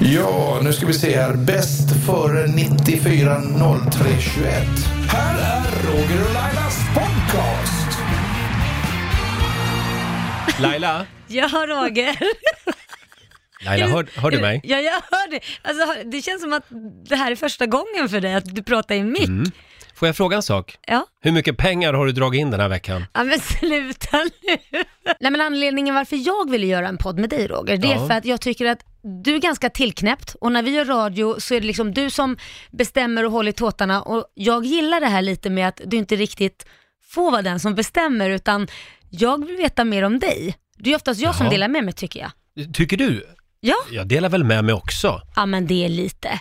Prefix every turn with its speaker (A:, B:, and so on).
A: Ja, nu ska vi se här. Bäst före 94 03 21. Här är Roger och Lailas podcast!
B: Laila,
C: Ja, Roger.
B: Laila hör, hör du mig?
C: Ja, jag hör det. Alltså, det känns som att det här är första gången för dig att du pratar i mick.
B: Mm. Får jag fråga en sak?
C: Ja.
B: Hur mycket pengar har du dragit in den här veckan?
C: ja, men sluta nu. Nej, men anledningen varför jag ville göra en podd med dig Roger, det är
B: Ja.
C: för att jag tycker att du är ganska tillknäppt och när vi gör radio så är det liksom du som bestämmer och håller i tåtarna och jag gillar det här lite med att du inte riktigt får vara den som bestämmer utan jag vill veta mer om dig. Det är oftast jag som
B: Jaha.
C: delar med mig tycker jag.
B: Tycker du?
C: Ja,
B: Jag delar väl med mig också.
C: ja men det är lite.